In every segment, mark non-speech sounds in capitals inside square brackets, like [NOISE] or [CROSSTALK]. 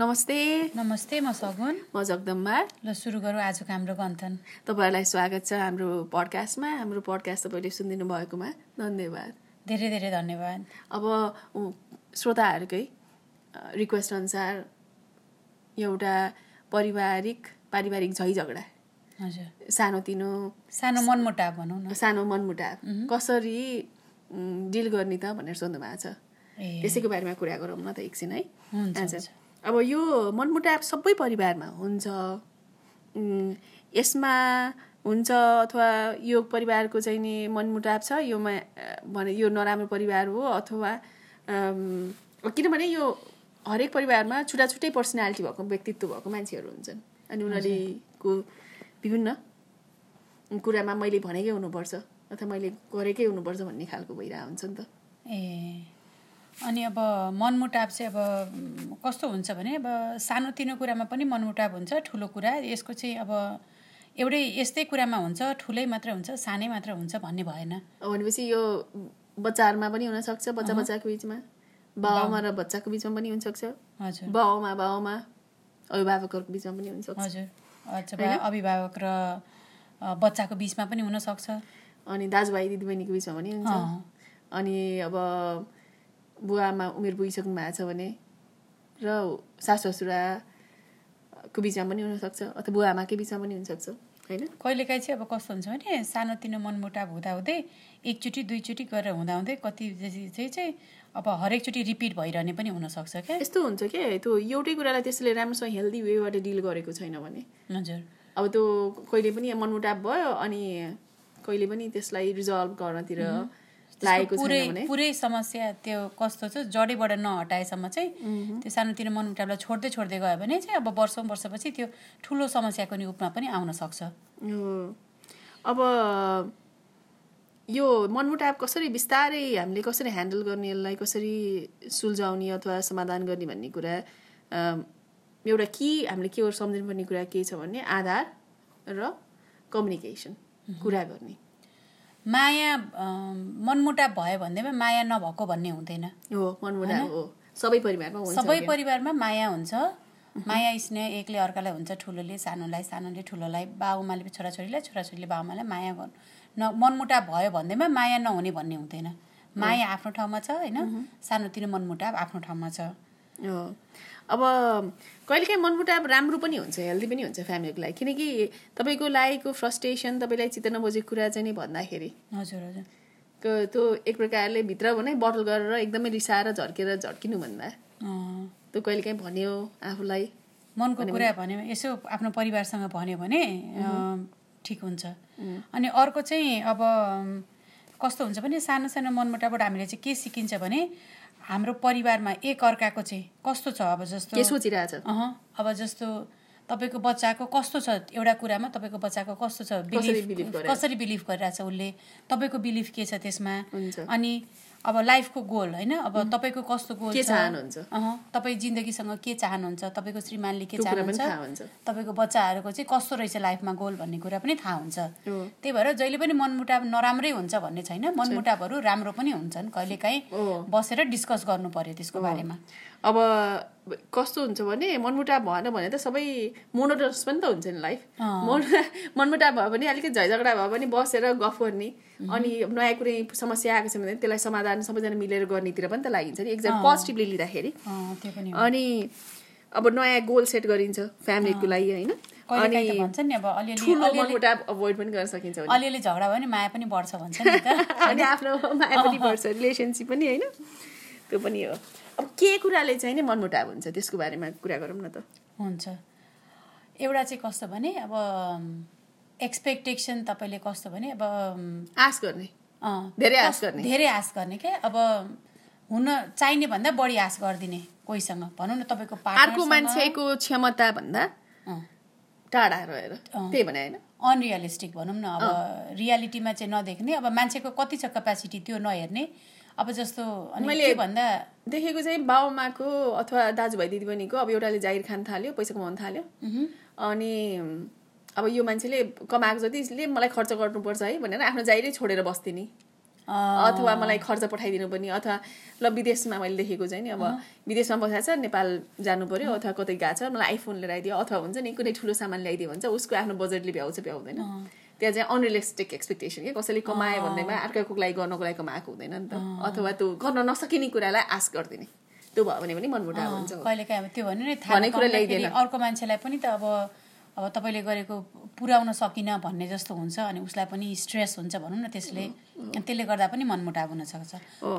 नमस्ते नमस्ते म सगुन म जगदम्बा ल सुरु गरौँ आजको हाम्रो गन्थन तपाईँहरूलाई स्वागत छ हाम्रो पडकास्टमा हाम्रो पडकास्ट तपाईँले सुनिदिनु भएकोमा धन्यवाद धेरै धेरै धन्यवाद अब उ- श्रोताहरूकै रिक्वेस्ट अनुसार एउटा पारिवारिक पारिवारिक झैझगडा हजुर सानोतिनो सानो मनमुटाव भनौँ न सानो मनमुटाव कसरी डिल गर्ने त भनेर सोध्नु भएको छ ए त्यसैको बारेमा कुरा गरौँ न त एकछिन है हुन्छ, आज हुन्छ। अब यो मनमुटाव सबै परिवारमा हुन्छ उम्, यसमा हुन्छ अथवा यो परिवारको चाहिँ नि मनमुटाव छ योमा अ, भने यो नराम्रो परिवार हो अथवा अम्, किनभने यो हरेक परिवारमा छुट्टा छुट्टै पर्सनालिटी भएको व्यक्तित्व भएको मान्छेहरू हुन्छन् अनि उनीहरूको विभिन्न कुरामा मैले भनेकै हुनुपर्छ अथवा मैले गरेकै हुनुपर्छ भन्ने खालको भइरहेको हुन्छ नि त ए अनि अब मनमुटाव चाहिँ अब म, कस्तो हुन्छ भने अब सानोतिनो कुरामा पनि मनमुटाव हुन्छ ठुलो कुरा यसको चाहिँ अब एउटै यस्तै कुरामा हुन्छ ठुलै मात्र हुन्छ सानै मात्र हुन्छ भन्ने भएन भनेपछि यो बच्चाहरूमा पनि हुनसक्छ बच्चा बच्चाको बिचमा बाबुआमा र बच्चाको बिचमा पनि हुनसक्छ हजुर बाबुआमा बाबुआमा अभिभावकहरूको बिचमा पनि हुनसक्छ हजुर अथवा अभिभावक र अ, बच्चाको बिचमा पनि हुनसक्छ अनि दाजुभाइ दिदीबहिनीको बिचमा पनि हुन्छ अँ। अनि अब बुवामा उमेर पुगिसक्नु भएको छ भने र सासु ससुराको बिचमा पनि हुनसक्छ अथवा बुवा आमाकै बिचमा पनि हुनसक्छ होइन कहिलेकाहीँ चाहिँ अब कस्तो हुन्छ भने सानोतिनो मनमुटाव हुँदाहुँदै एकचोटि दुईचोटि गरेर हुँदाहुँदै कति जति चाहिँ चाहिँ अब हरेकचोटि रिपिट भइरहने पनि हुनसक्छ क्या यस्तो हुन्छ क्या त्यो एउटै कुरालाई त्यसले राम्रोसँग हेल्दी वेबाट डिल गरेको छैन भने हजुर अब त्यो कहिले पनि मनमुटाव भयो अनि कहिले पनि त्यसलाई रिजल्भ गर्नतिर लागेको पुरै छैन भने पुरै समस्या त्यो कस्तो छ जडैबाट नहटाएसम्म चाहिँ त्यो सानोतिनो मनमुटावलाई छोड्दै छोड्दै गयो भने चाहिँ अब वर्षौँ वर्षपछि त्यो ठुलो समस्याको नि रूपमा पनि आउन सक्छ यो- अब यो मनमुटाव कसरी बिस्तारै हामीले कसरी ह्यान्डल गर्ने यसलाई कसरी सुल्झाउने अथवा समाधान गर्ने भन्ने कुरा अम, एउटा कि हामीले के गर्नु सम्झिनुपर्ने कुरा के छ भने आधार र कम्युनिकेसन कुरा गर्ने माया अम, मनमुटाव भयो भन्दैमा माया नभएको भन्ने हुँदैन हो मनमुटाव हो सबै परिवारमा हुन्छ सबै परिवारमा माया हुन्छ माया स्नेह एकले अर्कालाई हुन्छ ठुलोले सानोलाई सानोले ठुलोलाई बाबुमाले छोराछोरीलाई छोराछोरीले बाबुमालाई माया गर्नु न मनमुटाव भयो भन्दैमा माया नहुने भन्ने हुँदैन माया आफ्नो ठाउँमा छ होइन सानोतिनो मनमुटाव आफ्नो ठाउँमा छ हो। अब कहिलेकाहीँ मनमुटाव राम्रो पनि हुन्छ हेल्दी पनि हुन्छ फ्यामिलीको लागि किनकि तपाईँको लागेको फ्रस्ट्रेसन तपाईँलाई चित्त नबुझेको कुरा चाहिँ नि भन्दाखेरि हजुर हजुर क- त्यो एक प्रकारले भित्र भने बटल गरेर एकदमै रिसाएर झर्केर झर्किनु भन्दा अँ, त्यो कहिलेकाहीँ भन्यो आफूलाई मनको कुरा भन्यो भने- यसो आफ्नो परिवारसँग भन्यो भने अँ, ठिक हुन्छ अनि अर्को चाहिँ अब अम्, कस्तो हुन्छ भने सानो सानो मनमुटाबाट हामीले चाहिँ के सिकिन्छ भने हाम्रो परिवारमा एक अर्काको चाहिँ कस्तो छ अब जस्तो के सोचिरहेछ अहँ, अब जस्तो तपाईँको बच्चाको कस्तो छ एउटा कुरामा तपाईँको बच्चाको कस्तो छ believe बिलिफ कसरी बिलिभ गरिरहेछ उसले तपाईँको बिलिफ के छ हुन्छ। त्यसमा अनि अब लाइफको गोल होइन अब तपाईँको कस्तो गोल के छ चाहनुहुन्छ? अहँ, तपाईँ जिन्दगीसँग के चाहनुहुन्छ तपाईँको श्रीमानले के त्यो कुरा पनि चाहनुहुन्छ थाहा हुन्छ तपाईँको बच्चाहरूको चाहिँ कस्तो रहेछ लाइफमा गोल भन्ने कुरा पनि थाहा हुन्छ हो। त्यही भएर जहिले पनि मनमुटाव नराम्रै हुन्छ भन्ने छैन मनमुटावहरू राम्रो पनि हुन्छन् हो। कहिलेकाहीँ बसेर डिस्कस गर्नु पर्यो त्यसको बारेमा अब कस्तो हुन्छ भने मनमुटाव भएन भने त सबै मोनोटोस पनि त हुन्छ नि लाइफ अँ। मन [LAUGHS] मनमुटाव भयो भने अलिकति झैझगडा भयो भने बसेर गफ गर्ने अनि नयाँ कुनै समस्या आएको छ भने त्यसलाई समाधान सबैजना मिलेर गर्नेतिर पनि त लागिन्छ नि एकजना पोजिटिभली लिँदाखेरि अँ, त्यो पनि हो। अनि अब नयाँ गोल सेट गरिन्छ फ्यामिलीको लागि होइन अनि कहिलेकाहीँ त भन्छ नि अब अलिअलि ठुलो अलिअलि मनमुटाव अभोइड पनि गर्न सकिन्छ भने। अलिअलि झगडा भयो भने माया पनि बढ्छ भन्छ नि त [LAUGHS] अनि आफ्नो माया पनि पर्छ रिलेसनसिप पनि होइन त्यो पनि हो अब के कुराले चाहिँ नि मनमुटाव हुन्छ त्यसको बारेमा कुरा गरौँ न त हुन्छ एउटा चाहिँ कस्तो भने अब एक्सपेक्टेसन तपाईँले कस्तो भने अब आश गर्ने अँ, धेरै आश गर्ने धेरै आश गर्ने क्या अब हुन चाहिने भन्दा बढी आश गरिदिने कोहीसँग भनौँ न तपाईँको अर्को पार्टनर मान्छेको क्षमता भन्दा टाढा रहेर त्यही भने होइन अनरियलिस्टिक भनौँ न अब रियालिटीमा चाहिँ नदेख्ने अब मान्छेको कति छ क्यापासिटी त्यो नहेर्ने अब जस्तो अनि मैले- त्यो भन्दा देखेको चाहिँ बाबुआमाको अथवा दाजुभाइ दिदीबहिनीको अब एउटाले जाहिर खान थाल्यो पैसा कमाउन थाल्यो अनि अब यो मान्छेले कमाएको जतिले मलाई खर्च गर्नुपर्छ है भनेर आफ्नो जाहिरै छोडेर बस्थे नि अथवा मलाई खर्च पठाइदिनु पनि अथवा ल विदेशमा मैले देखेको चाहिँ नि अब विदेशमा बसेको छ नेपाल जानु पर्यो अथवा कतै गएको छ मलाई आइफोन लिएर आइदियो अथवा हुन्छ नि कुनै ठुलो सामान ल्याइदियो भन्छ उसको आफ्नो बजेटले भ्याउँछ भ्याउँदैन त्यहाँ चाहिँ अनरियलिस्टिक एक्सपेक्टेसन के कसैले कमायो भन्दैमा अर्काको लागि गर्नको लागि कमाएको हुँदैन नि त अथवा त्यो गर्न नसकिने कुरालाई आश गरिदिने त्यो भयो भने पनि मनमुटाव हुन्छ कहिले काहीँ अब त्यो भन्नु नि भन्ने थाहा कुरा नपाउँदाखेरि अर्को मान्छेलाई पनि त अब अब तपाईँले गरेको पुर्याउन सकिनँ भन्ने जस्तो हुन्छ अनि उसलाई पनि स्ट्रेस हुन्छ भनौँ न त्यसले त्यसले गर्दा पनि मनमुटाव हुनसक्छ हो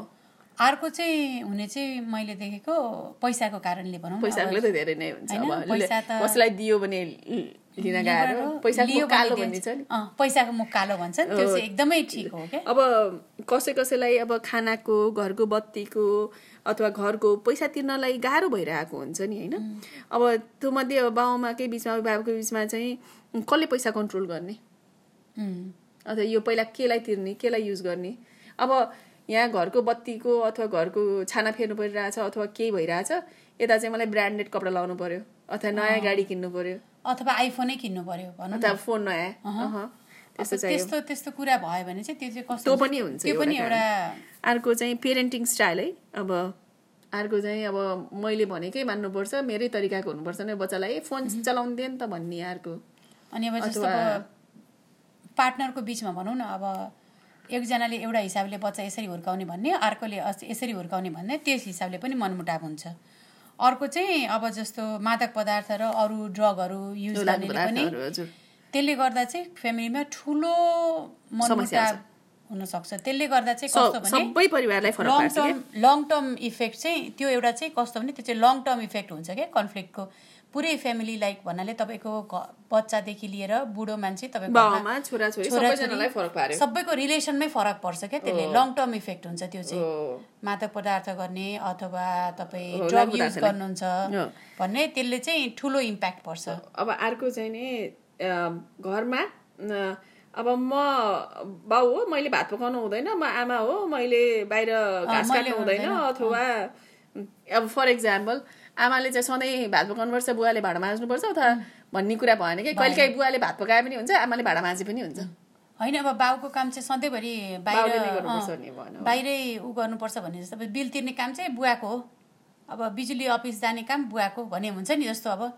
अर्को चाहिँ हुने चाहिँ मैले देखेको पैसाको कारणले भनौँ न, पैसाले अब त धेरै नै हुन्छ होइन, अब पैसा ले- त- कसैलाई दियो भने ल- लिन गाह्रो लिएर पैसाको लियो भने कालो दिन्छ। भन्ने छ नि अँ, पैसाको मुख कालो भन्छ नि, त्यो अँ। चाहिँ एकदमै ठिक हो क्या अब कसै कसैलाई अब खानाको घरको बत्तीको अथवा घरको पैसा तिर्नलाई गाह्रो भइरहेको हुन्छ नि होइन अब त्योमध्ये अब बाउमाकै बिचमा बाबाको बिचमा चाहिँ कसले पैसा कन्ट्रोल गर्ने उम्, अथवा यो पहिला केलाई तिर्ने केलाई युज गर्ने अब यहाँ घरको बत्तीको अथवा घरको छाना फेर्नु परिरहेछ अथवा केही भइरहेछ यता चाहिँ मलाई ब्रान्डेड कपडा लाउनु पर्यो अथवा नयाँ गाडी किन्नु पर्यो अथवा आइफोनै किन्नु पर्यो भनौँ न अथवा फोन नयाँ अहँ, त्यस्तो चाहियो त्यस्तो त्यस्तो कुरा भयो भने चाहिँ त्यो चाहिँ कस्तो त्यो हुन्छ? पनि हुन्छ त्यो पनि एउटा अर्को चाहिँ पेरेन्टिङ स्टाइल है अब अर्को चाहिँ अब मैले भनेकै मान्नुपर्छ मेरै तरिकाको हुनुपर्छ नि बच्चालाई ए, फोन चलाउँदैन त भन्ने अर्को अनि अब जस्तो अथवा- अब पार्टनरको बिचमा भनौँ न अब एकजनाले एउटा हिसाबले बच्चा यसरी हुर्काउने भन्ने अर्कोले अस- यसरी हुर्काउने भन्ने त्यस हिसाबले पनि मनमुटाव हुन्छ अर्को चाहिँ अब जस्तो मादक पदार्थ र अरू ड्रगहरू युज लाग्ने गर्नेले पनि पदार्थहरू हजुर त्यसले गर्दा चाहिँ फ्यामिलीमा ठुलो मनमुटाव हुनसक्छ त्यसले गर्दा चाहिँ कस्तो सब- भने सबै परिवारलाई फरक लङ पार्छ टर्म लङ टर्म इफेक्ट चाहिँ त्यो एउटा चाहिँ कस्तो भने त्यो चाहिँ लङ टर्म इफेक्ट हुन्छ क्या कन्फ्लिक्टको पुरै फ्यामिली लाइक भन्नाले तपाईँको घ- बच्चादेखि लिएर बुढो मान्छे कि। तपाईँको बाउमा छोराछोरी छोराछोरी- सबैजनालाई फरक पार्यो Oh. सबैको रिलेसनमै फरक पर्छ क्या त्यसले लङ टर्म इफेक्ट हुन्छ त्यो चाहिँ हो। मादक पदार्थ गर्ने अथवा तपाईँ हो, ड्रग लागु युज पदार्थले। गर्नुहुन्छ हो। भन्ने त्यसले चाहिँ ठुलो इम्प्याक्ट पर्छ अब अर्को चाहिँ नि अम, घरमा न, अब म बाउ हो मैले भात पकाउनु हुँदैन म आमा हो मैले बाहिर घाँस मैले काट्नु हुँदैन हुँदैन, अथवा अब फर इक्जाम्पल आमाले चाहिँ सधैँ भात पकाउनुपर्छ बुवाले भाँडा माझ्नुपर्छ अथवा भन्ने कुरा भएन कि कहिलेकाहीँ बुवाले भात पकाए पनि हुन्छ आमाले भाँडा माझे पनि हुन्छ होइन अब बाउको काम चाहिँ सधैँभरि बाउले बाहिर नै गर्नुपर्छ अँ, नि भनौँ। बाहिरै ऊ गर्नुपर्छ भने जस्तो अब बिल तिर्ने काम चाहिँ बुवाको हो अब बिजुली अफिस जाने काम बुवाको भन्ने हुन्छ नि जस्तो अब हो।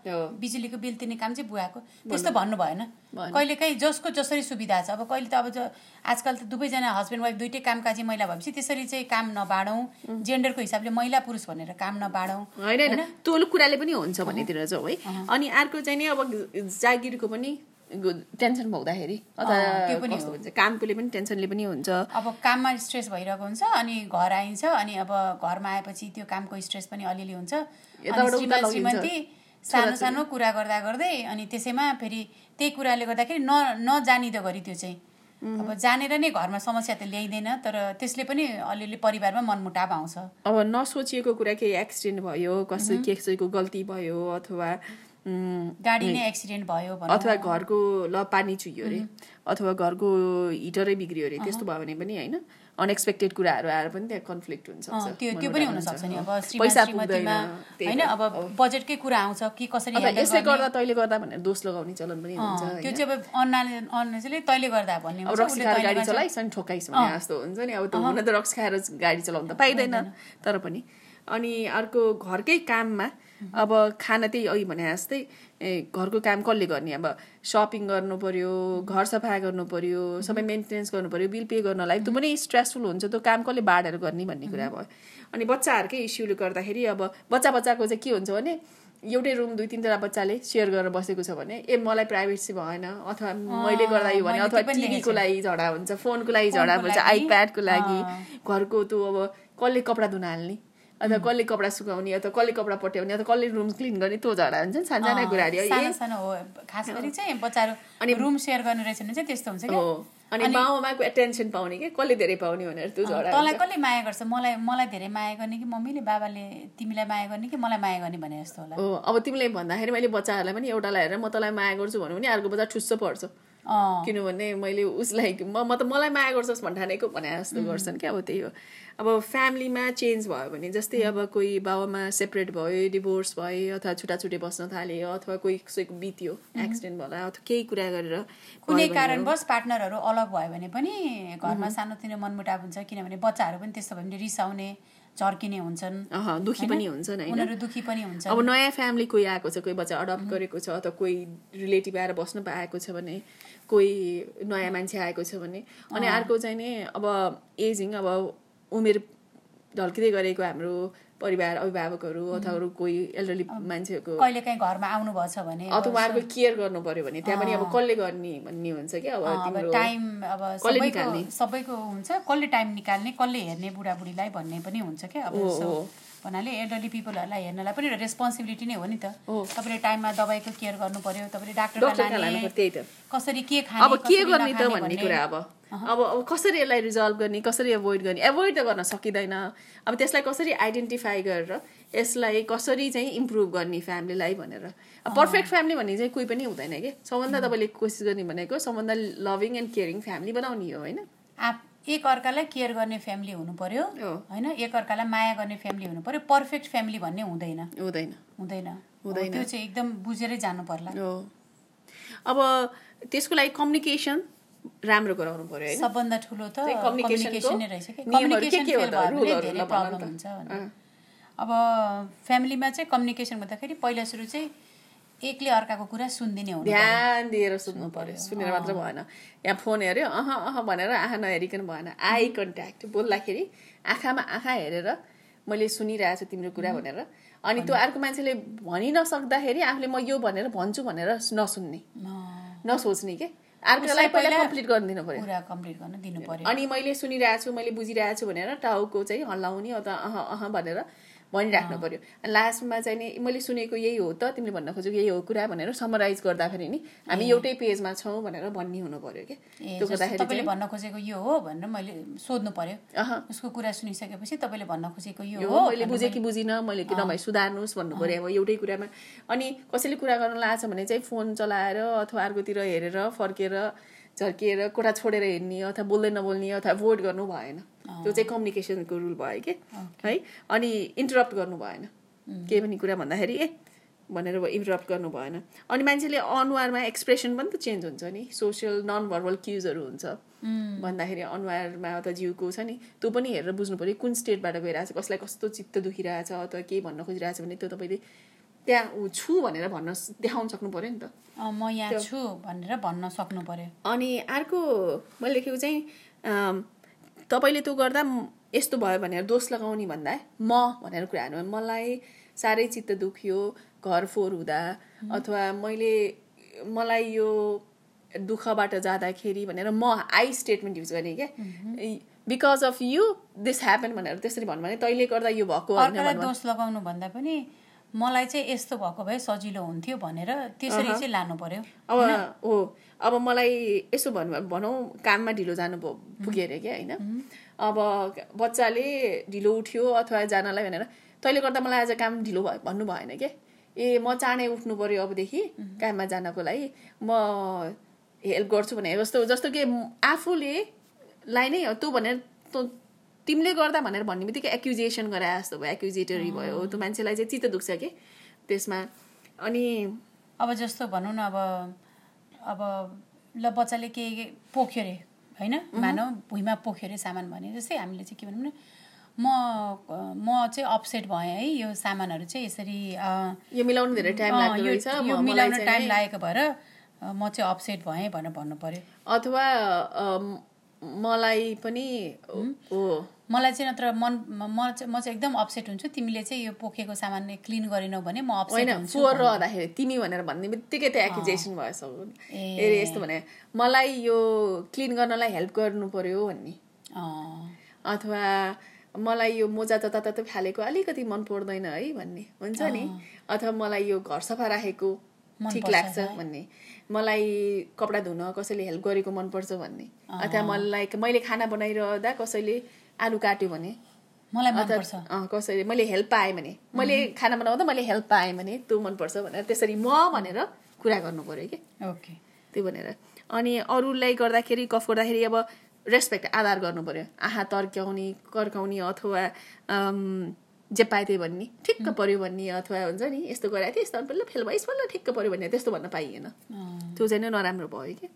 बिजुलीको बिल तिर्ने काम चाहिँ बुवाको त्यस्तो भन्नु भएन भएन। कहिलेकाहीँ जसको जसरी सुविधा छ अब कहिले त अब जो आजकल त दुवैजना हस्बेन्ड वाइफ दुइटै कामकाजी महिला भएपछि त्यसरी चाहिँ काम नबाँडौँ जेन्डरको हिसाबले महिला पुरुष भनेर काम नबाँडौँ होइन होइन त्यो कुराले पनि हुन्छ भन्नेतिर जाउँ है अनि अर्को चाहिँ नि अब जागिरको पनि गु- टेन्सन पाउँदाखेरि अथवा अँ, त्यो पनि कस्तो भन्छ कामकोले पनि टेन्सनले पनि हुन्छ अब काममा स्ट्रेस भइरहेको हुन्छ अनि घर आइन्छ अनि अब घरमा आएपछि त्यो कामको स्ट्रेस पनि अलिअलि हुन्छ अनि यताबाट उता श्रीमान लगिन्छ। श्रीमती सानो सानो कुरा गर्दा गर्दै अनि त्यसैमा फेरि त्यही कुराले गर्दाखेरि न नजानिदो गरी त्यो चाहिँ अब जानेर नै घरमा समस्या त ल्याइँदैन तर त्यसले पनि अलिअलि परिवारमा मनमुटाव आउँछ अब नसोचिएको कुरा केही एक्सिडेन्ट भयो कसै कसैको गल्ती भयो अथवा उम्, गाडी नै एक्सिडेन्ट भयो भनौँ अथवा घरको ल पानी चुहियो अरे अथवा घरको हिटरै बिग्रियो अरे त्यस्तो भयो भने पनि होइन अनएक्सपेक्टेड कुराहरू आएर पनि त्यहाँ कन्फ्लिक्ट हुन्छ अँ, त्यो त्यो पनि हुनसक्छ नि अब श्रीमान पैसा श्रीमतीमा पुग्दैन, त्यही होइन अब बजेटकै कुरा आउँछ कि कसरी अथवा ह्यान्डल यसले गर्ने। गर्दा तैले गर्दा भनेर दोष लगाउने चलन पनि हुन्छ अँ, त्यो होइन? चाहिँ अब अन्नाले अन्नाले तैँले गर्दा भन्ने अब हुन्छ रक्सी उसले खाएर तैँले गाडी गर्छ। चलाइस् अनि ठोक्काइस् भने जस्तो हुन्छ नि अब त्यो हुन त रक्सी खाएर गाडी चलाउनु त पाइँदैन तर पनि अनि अर्को घरकै काममा अब खाना त्यही अघि भने जस्तै ए, घरको काम कसले गर्ने अब सपिङ गर्नु पर्यो घर सफा गर्नु पर्यो सबै मेन्टेनेन्स गर्नु पर्यो बिल पे गर्नलाई त्यो पनि स्ट्रेसफुल हुन्छ त्यो काम कसले बाँडेर गर्ने भन्ने कुरा भयो अनि बच्चाहरूकै इस्युले गर्दाखेरि अब बच्चा बच्चाको चाहिँ के हुन्छ भने एउटै रुम दुई तिनवटा बच्चाले सेयर गरेर बसेको छ भने ए मलाई प्राइभेसी भएन अथवा मैले गर्दा यो भने मैले अथवा त्यो पनि टिभीको लागि झडा हुन्छ फोनको लागि फोनको झडा हुन्छ लागि, आइप्याडको लागि घरको त्यो अब कसले कपडा धुन हाल्ने अथवा कसले कपडा सुकाउने अथवा कसले कपडा पट्याउने अथवा कसले रुम क्लिन गर्ने त्यो झडा हुन्छ नि सानसाना कुराहरू सानो ए, सानो हो खास गरी चाहिँ बच्चाहरू अनि- रुम सेयर गर्ने रहेछ भने चाहिँ त्यस्तो हुन्छ हो क्या अनि बाउमाको एटेन्सन पाउने कि कसले धेरै पाउने भनेर त्यो झडा तँलाई कसले माया गर्छ मलाई मलाई धेरै माया गर्ने कि मम्मीले बाबाले तिमीलाई माया गर्ने कि मलाई माया गर्ने भने जस्तो होला हो अब तिमीले भन्दाखेरि मैले बच्चाहरूलाई पनि एउटालाई हेरेर म तँलाई माया गर्छु भन्यो भने अर्को बच्चा ठुस्सो पर्छ अँ किनभने मैले उसलाई म म त मलाई माया गर्छस् भन्ठानेको भने जस्तो गर्छन् क्या अब त्यही हो अब फ्यामिलीमा चेन्ज भयो भने जस्तै अब कोही बाबामा सेपरेट भयो डिभोर्स भयो अथवा छुट्टाछुट्टै बस्न थाल्यो अथवा कोही कसैको बित्यो एक्सिडेन्ट भयो अथवा केही कुरा गरेर कुनै कारणवश पार्टनरहरू अलग भयो भने पनि घरमा सानोतिनो मनमुटाव हुन्छ किनभने बच्चाहरू पनि त्यस्तो भयो भने रिसाउने झर्किने हुन्छन् अह, दुखी पनि हुन्छन् होइन उनीहरू दुखी पनि हुन्छ अब नयाँ फ्यामिली कोही आएको छ कोही बच्चा अडप्ट गरेको छ अथवा कोही रिलेटिभ आएर बस्न पाएको छ भने कोही नयाँ मान्छे आएको छ भने अनि अर्को चाहिँ नि अब एजिङ अब उमेर ढल्किँदै गरेको हाम्रो परिवार अभिभावकहरू अथवा अरू कोही एल्डरली मान्छेहरूको कहिले काहीँ घरमा आउनुभएछ भने अथवा उहाँहरूको केयर गर्नु पर्यो भने त्यहाँ पनि अब कसले गर्ने भन्ने हुन्छ क्या अब अँ, अब तिम्रो टाइम अब कसले सबैको निकाल्ने? सबैको हुन्छ कसले टाइम निकाल्ने कसले हेर्ने बुढाबुढीलाई भन्ने पनि हुन्छ क्या अब हो, so हो। भन्नाले एल्डरली पिपलहरूलाई हेर्नलाई पनि एउटा रेस्पोन्सिबिलिटी नै हो नि त हो। तपाईँले टाइममा दबाईको केयर गर्नु पर्यो तपाईँले डक्टरका डाक्टरलाई लानु लाने पर्यो, त्यही त कसरी के खाने अब के कसरी गर्ने त नखाने भन्ने कुरा अब अब अब कसरी यसलाई रिजल्भ गर्ने कसरी एभोइड गर्ने एभोइड त गर्न सकिँदैन अब त्यसलाई कसरी आइडेन्टिफाई गरेर यसलाई कसरी चाहिँ इम्प्रुभ गर्ने फ्यामिलीलाई भनेर अब पर्फेक्ट फ्यामिली भन्ने चाहिँ कोही पनि हुँदैन कि सबभन्दा तपाईँले कोसिस गर्ने भनेको सबभन्दा लभिङ एन्ड केयरिङ फ्यामिली बनाउने हो होइन आप एक अर्कालाई केयर गर्ने फ्यामिली हुनु पर्यो हो। होइन एक अर्कालाई माया गर्ने फ्यामिली हुनु पर्यो पर्फेक्ट फ्यामिली भन्ने हुँदैन हुँदैन हुँदैन अब हुँदैन। त्यो चाहिँ एकदम बुझेरै जानु पर्ला हो अब त्यसको लागि कम्युनिकेसन राम्रो गराउनु पर्यो होइन सबभन्दा ठुलो त त्यही communication कम्युनिकेसन को नै रहेछ कि नियमहरू कम्युनिकेसन के के हो फेल त? भयो भने रुलहरू धेरै ल भन प्रब्लम त। हुन्छ भनेर। अँ। अब फ्यामिलीमा चाहिँ कम्युनिकेसन भन्दाखेरि पहिला सुरु चाहिँ एकले अर्काको कुरा सुनिदिने हुनु ध्यान दिएर सुत्नु पर्यो सुनेर मात्र भएन यहाँ फोन हेऱ्यो अह अह भनेर आँखा नहेरिकन भएन आई कन्ट्याक्ट बोल्दाखेरि आँखामा आँखा हेरेर मैले सुनिरहेको छु तिम्रो कुरा भनेर अनि त्यो अर्को मान्छेले भनि नसक्दाखेरि आफूले म यो भनेर भन्छु भनेर नसुन्ने अँ, नसोच्ने के अर्कोलाई पहिला कम्प्लिट गरिदिनु पर्यो कुरा कम्प्लिट गर्न दिनु पर्यो अनि मैले सुनिरहेको छु मैले बुझिरहेको छु भनेर टाउको चाहिँ हल्लाउने अथवा अह अह भनेर भनिराख्नु पर्यो अनि लास्टमा चाहिँ नि मैले सुनेको यही हो त तिमीले भन्न खोजेको यही हो कुरा भनेर समराइज गर्दाखेरि नि हामी एउटै पेजमा छौँ भनेर भन्ने हुनु पर्यो कि ए त्यो जस्तो गर्दाखेरि तपाईँले भन्न खोजेको यो हो भनेर मैले सोध्नु पर्यो अह उसको कुरा सुनिसकेपछि तपाईँले भन्न खोजेको यो यो हो मैले बुझेँ कि बुझिनँ मैले कि नभए सुधार्नुहोस् भन्नु पऱ्यो अब एउटै कुरामा अनि कसैले कुरा गर्न लागेको छ भने चाहिँ फोन चलाएर अथवा अर्कोतिर हेरेर फर्केर झर्किएर कोठा छोडेर हिँड्ने अथवा बोल्दै नबोल्ने अथवा भोट गर्नु भएन त्यो चाहिँ कम्युनिकेसनको रुल भयो कि है अनि इन्टरप्ट गर्नु भएन केही पनि कुरा भन्दाखेरि ए भनेर इन्टरप्ट गर्नु भएन अनि मान्छेले अनुहारमा एक्सप्रेसन पनि त चेन्ज हुन्छ नि सोसियल नन भर्बल क्युजहरू हुन्छ भन्दाखेरि अनुहारमा अथवा जिउको छ नि त्यो पनि हेरेर बुझ्नु पऱ्यो कुन स्टेटबाट गइरहेछ कसलाई कस्तो चित्त दुखिरहेछ अथवा केही भन्न खोजिरहेछ भने त्यो तपाईँले त्यहाँ ऊ छु भनेर भन्न स- देखाउन सक्नु पऱ्यो नि त अँ, म यहाँ छु भनेर भन्न सक्नु पर्यो अनि अर्को मैले लेखेको चाहिँ अम, तपाईँले त्यो गर्दा म- यस्तो भयो भनेर दोष लगाउने भन्दा म भनेर कुरा हाल्नु मलाई साह्रै चित्त दुख्यो घर फोहोर हुँदा अथवा मैले मलाई यो दुःखबाट जाँदाखेरि भनेर म आई स्टेटमेन्ट युज गर्ने क्या because of you this happen भनेर त्यसरी भन्नु भने तैँले गर्दा यो भएको होइन अर्कालाई दोष लगाउनु भन्दा पनि मलाई चाहिँ यस्तो भएको भए सजिलो हुन्थ्यो भनेर त्यसरी चाहिँ लानु पर्यो अब हो अब मलाई यसो भन्नु भनौँ काममा ढिलो जानु भयो पुग्यो अरे क्या होइन अब बच्चाले ढिलो उठ्यो अथवा जानलाई भनेर तैँले गर्दा मलाई आज काम ढिलो भयो भन्नु भएन क्या ए म चाँडै उठ्नु पर्यो अबदेखि काममा जानको लागि म हेल्प गर्छु भने जस्तो जस्तो कि म- आफूले लाई नै हो त्यो भनेर तँ- तिमीले गर्दा भनेर भन्ने बित्तिकै एक्युजेसन गराए जस्तो भयो एक्युजेटरी भयो त्यो मान्छेलाई चाहिँ चित्त दुख्छ कि त्यसमा अनि अब जस्तो भनौँ न अब अब ल बच्चाले के के पोख्यो अरे होइन मानव भुइँमा पोख्यो अरे सामान भने जस्तै हामीले चाहिँ के भनौँ न म म चाहिँ अपसेट भएँ है यो सामानहरू चाहिँ यसरी अँ, यो मिलाउनु धेरै टाइम अँ, लाग्दो यो रहेछ यो म- मलाई मिलाउन चाहिँ टाइम नि- लागेको भएर अँ, म चाहिँ अपसेट भएँ भनेर भन्नु पर्यो अथवा अम, मलाई पनि हो मलाई चाहिँ नत्र मन म म चाहिँ म चाहिँ एकदम अपसेट हुन्छु तिमीले चाहिँ यो पोखेको सामान क्लिन गरेनौ भने म अपसेट होइन हुन्छु फोहोर रहँदाखेरि तिमी भनेर भन्ने बित्तिकै त्यो एक्युजेसन भयो सब ए यस्तो भने मलाई यो क्लिन गर्नलाई हेल्प गर्नु पर्यो भन्ने अँ, अथवा मलाई यो मोजा तताततै फालेको अलिकति मन पर्दैन है भन्ने हुन्छ नि अथवा मलाई यो घर सफा राखेको ठिक लाग्छ भन्ने मलाई कपडा धुन कसैले हेल्प गरेको मनपर्छ भन्ने अथवा मलाई मैले खाना बनाइरहँदा कसैले आलु काट्यो भने मलाई मनपर्छ अँ, कसैले मैले हेल्प पाएँ भने मैले खाना बनाउँदा मैले हेल्प पाएँ भने त्यो मनपर्छ भनेर त्यसरी म भनेर कुरा गर्नु पर्यो कि ओके त्यही भनेर अनि अरूलाई गर्दाखेरि गफ गर्दाखेरि अब रेस्पेक्ट आधार गर्नु पर्यो आहा तर्क्याउने कर्काउने अथवा अम, जे पाए त्यही भन्ने ठिक्क पर्यो भन्ने अथवा हुन्छ नि यस्तो गराएको थिएँ यस्तो बल्ल फेल भइस् बल्ल ठिक्क पर्यो भन्ने त्यस्तो भन्न पाइएन त्यो चाहिँ नै नराम्रो भयो कि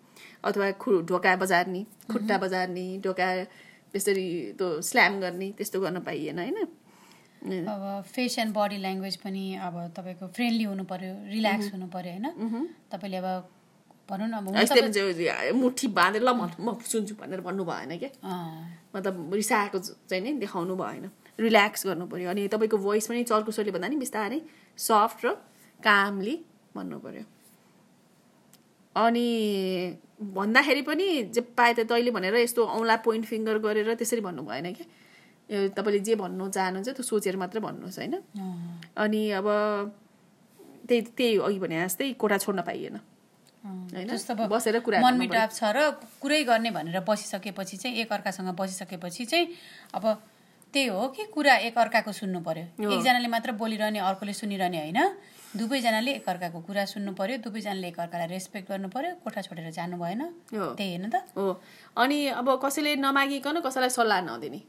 अथवा खु ढोका बजार्ने खुट्टा बजार्ने ढोका त्यसरी त्यो स्ल्याम गर्ने त्यस्तो गर्न पाइएन होइन अब फेस एन्ड बडी ल्याङ्ग्वेज पनि अब तपाईँको फ्रेन्डली हुनु पर्यो रिल्याक्स Mhm. हुनु पर्यो होइन तपाईँले अब भनौँ न अब हुन यस्तै तपाईँ- जो- मुठी बाँधेर ल म म सुन्छु भनेर भन्नु भएन क्या अँ, मतलब रिसाएको चाहिँ नै देखाउनु भएन रिल्याक्स गर्नु पर्यो अनि तपाईँको भोइस पनि चर्को स्वरले भन्दा नि बिस्तारै सफ्ट र कामली भन्नु पर्यो अनि भन्दाखेरि पनि जे पाए त तैँले भनेर यस्तो औँला पोइन्ट फिङ्गर गरेर त्यसरी भन्नु भएन क्या यो तपाईँले जे भन्नु चाहनुहुन्छ त्यो सोचेर मात्र भन्नुहोस् होइन अँ, अनि अब त्यही त्यही अघि भने जस्तै कोठा छोड्न पाइएन अँ। होइन? जस्तो अब बसेर कुरा मन गर्नु मिटाप छ र कुरै गर्ने भनेर बसिसकेपछि चाहिँ एकअर्कासँग बसिसकेपछि चाहिँ अब त्यही हो कि कुरा एकअर्काको सुन्नु पर्यो एकजनाले मात्र बोलिरहने अर्कोले सुनिरहने होइन दुवैजनाले एकअर्काको कुरा सुन्नु पर्यो दुवैजनाले एकअर्कालाई रेस्पेक्ट गर्नु पर्यो कोठा छोडेर जानु भएन हो त्यही होइन त हो अनि अब कसैले नमागिकन कसैलाई सल्लाह नदिने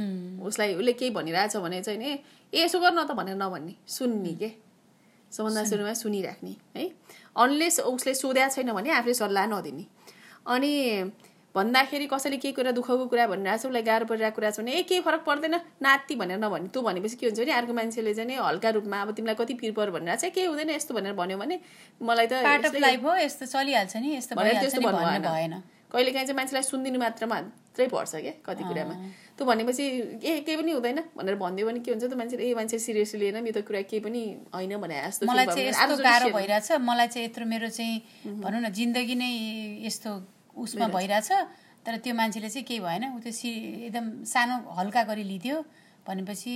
उम्, उसलाई उसले केही भनिरहेछ भने चाहिँ नि ए यसो गर्न त भनेर नभन्ने सुन्ने के सबभन्दा सुरुमा सुनिराख्ने है अनलेस उसले सोध्या छैन भने आफूले सल्लाह नदिने अनि भन्दाखेरि कसैले केही कुरा दुःखको कुरा भनिरहेछ उसलाई गाह्रो परिरहेको कुरा छ भने ए केही फरक पर्दैन नाति भनेर नभन्ने तँ भनेपछि के हुन्छ भने अर्को मान्छेले चाहिँ नि हल्का रूपमा अब तिमीलाई कति पिर पर भनिरहेछ केही हुँदैन यस्तो भनेर भन्यो भने मलाई त पार्ट अफ यसले- लाइफ हो यस्तो चलिहाल्छ नि यस्तो भनेर भइहाल्छ त्यस्तो नि भन्नु भन्नु भएन भएन कहिले काहीँ चाहिँ मान्छेलाई सुनिदिनु मात्रमा मात्रै पर्छ क्या कति कुरामा त्यो भनेपछि ए केही पनि हुँदैन भनेर भनिदियो भने के हुन्छ त मान्छेले ए मान्छे सिरियसली लिएन यो त कुरा केही पनि होइन भने जस्तो मलाई feel भयो भने चाहिँ यस्तो अर्कोचोटि गाह्रो share- भइरहेछ मलाई चाहिँ यत्रो मेरो चाहिँ Mm-hmm. भनौँ न जिन्दगी नै यस्तो उसमा भइरहेछ तर त्यो मान्छेले चाहिँ केही भएन ऊ त्यो सि एकदम सानो हल्का गरी लिदियो भनेपछि